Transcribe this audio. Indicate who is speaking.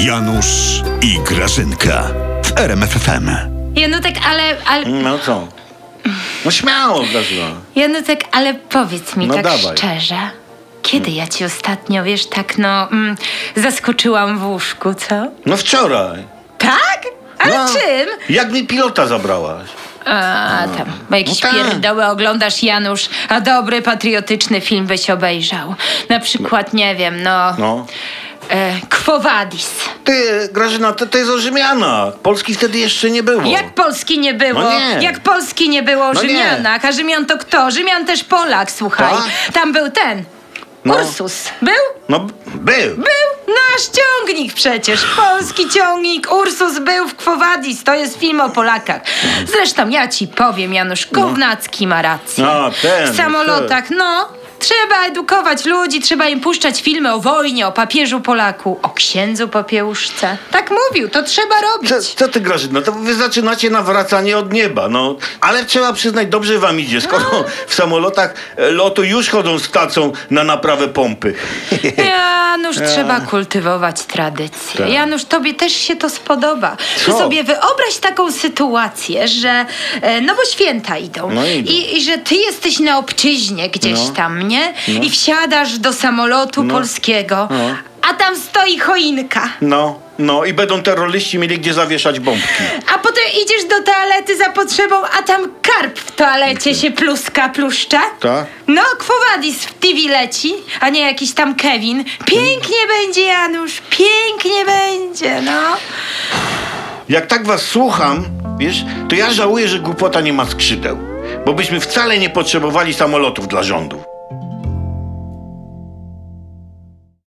Speaker 1: Janusz i Grażynka w RMFFM.
Speaker 2: Janutek, ale, ale,
Speaker 3: No co? No śmiało, Grażyna.
Speaker 2: Janutek, ale powiedz mi
Speaker 3: No
Speaker 2: tak
Speaker 3: dawaj. Hmm.
Speaker 2: szczerze. Kiedy ja ci ostatnio, wiesz, tak no, mm, zaskoczyłam w łóżku, co?
Speaker 3: No wczoraj.
Speaker 2: Tak? Ale
Speaker 3: no,
Speaker 2: czym?
Speaker 3: Jak mi pilota zabrałaś?
Speaker 2: A, tam, bo jakieś
Speaker 3: No tak.
Speaker 2: pierdoły oglądasz, Janusz, a dobry, patriotyczny film byś obejrzał. Na przykład, nie wiem, no...
Speaker 3: No.
Speaker 2: E, Quo Vadis.
Speaker 3: Ty, Grażyna, to, to jest o Rzymianach. Polski wtedy jeszcze nie było.
Speaker 2: Jak Polski nie było?
Speaker 3: No nie.
Speaker 2: Jak Polski nie było o
Speaker 3: No nie.
Speaker 2: Rzymianach? A Rzymian to kto? Rzymian też Polak, słuchaj.
Speaker 3: Tak?
Speaker 2: Tam był ten.
Speaker 3: No.
Speaker 2: Ursus. Był?
Speaker 3: No, b- był.
Speaker 2: Był nasz ciągnik przecież. Polski ciągnik. Ursus był w Kwowadis. To jest film o Polakach. Zresztą ja ci powiem, Janusz Kownacki ma rację.
Speaker 3: No. A, ten,
Speaker 2: w samolotach, no. Trzeba edukować ludzi, trzeba im puszczać filmy o wojnie, o papieżu Polaku, o księdzu popiełuszce. Tak mówił, to trzeba robić.
Speaker 3: Co, co ty, Grażyna, to wy zaczynacie nawracanie od nieba, no. Ale trzeba przyznać, dobrze wam idzie, skoro
Speaker 2: No.
Speaker 3: w samolotach e, lotu już chodzą z tacą na naprawę pompy.
Speaker 2: Janusz, trzeba kultywować tradycję.
Speaker 3: Tak.
Speaker 2: Janusz, tobie też się to spodoba. Ty
Speaker 3: Co?
Speaker 2: sobie wyobraź taką sytuację, że e, no bo święta idą,
Speaker 3: No idą.
Speaker 2: I, i że ty jesteś na obczyźnie gdzieś
Speaker 3: No.
Speaker 2: tam, nie? I wsiadasz do samolotu polskiego,
Speaker 3: No.
Speaker 2: a tam stoi choinka.
Speaker 3: No, no i będą terroryści mieli gdzie zawieszać bombki.
Speaker 2: A potem idziesz do toalety za potrzebą, a tam karp w toalecie się pluska, pluszcze.
Speaker 3: Tak?
Speaker 2: No, Kwowadis w TV leci, a nie jakiś tam Kevin. Pięknie będzie, Janusz, pięknie będzie, no.
Speaker 3: Jak tak was słucham, wiesz, to ja żałuję, że głupota nie ma skrzydeł, bo byśmy wcale nie potrzebowali samolotów dla rządu.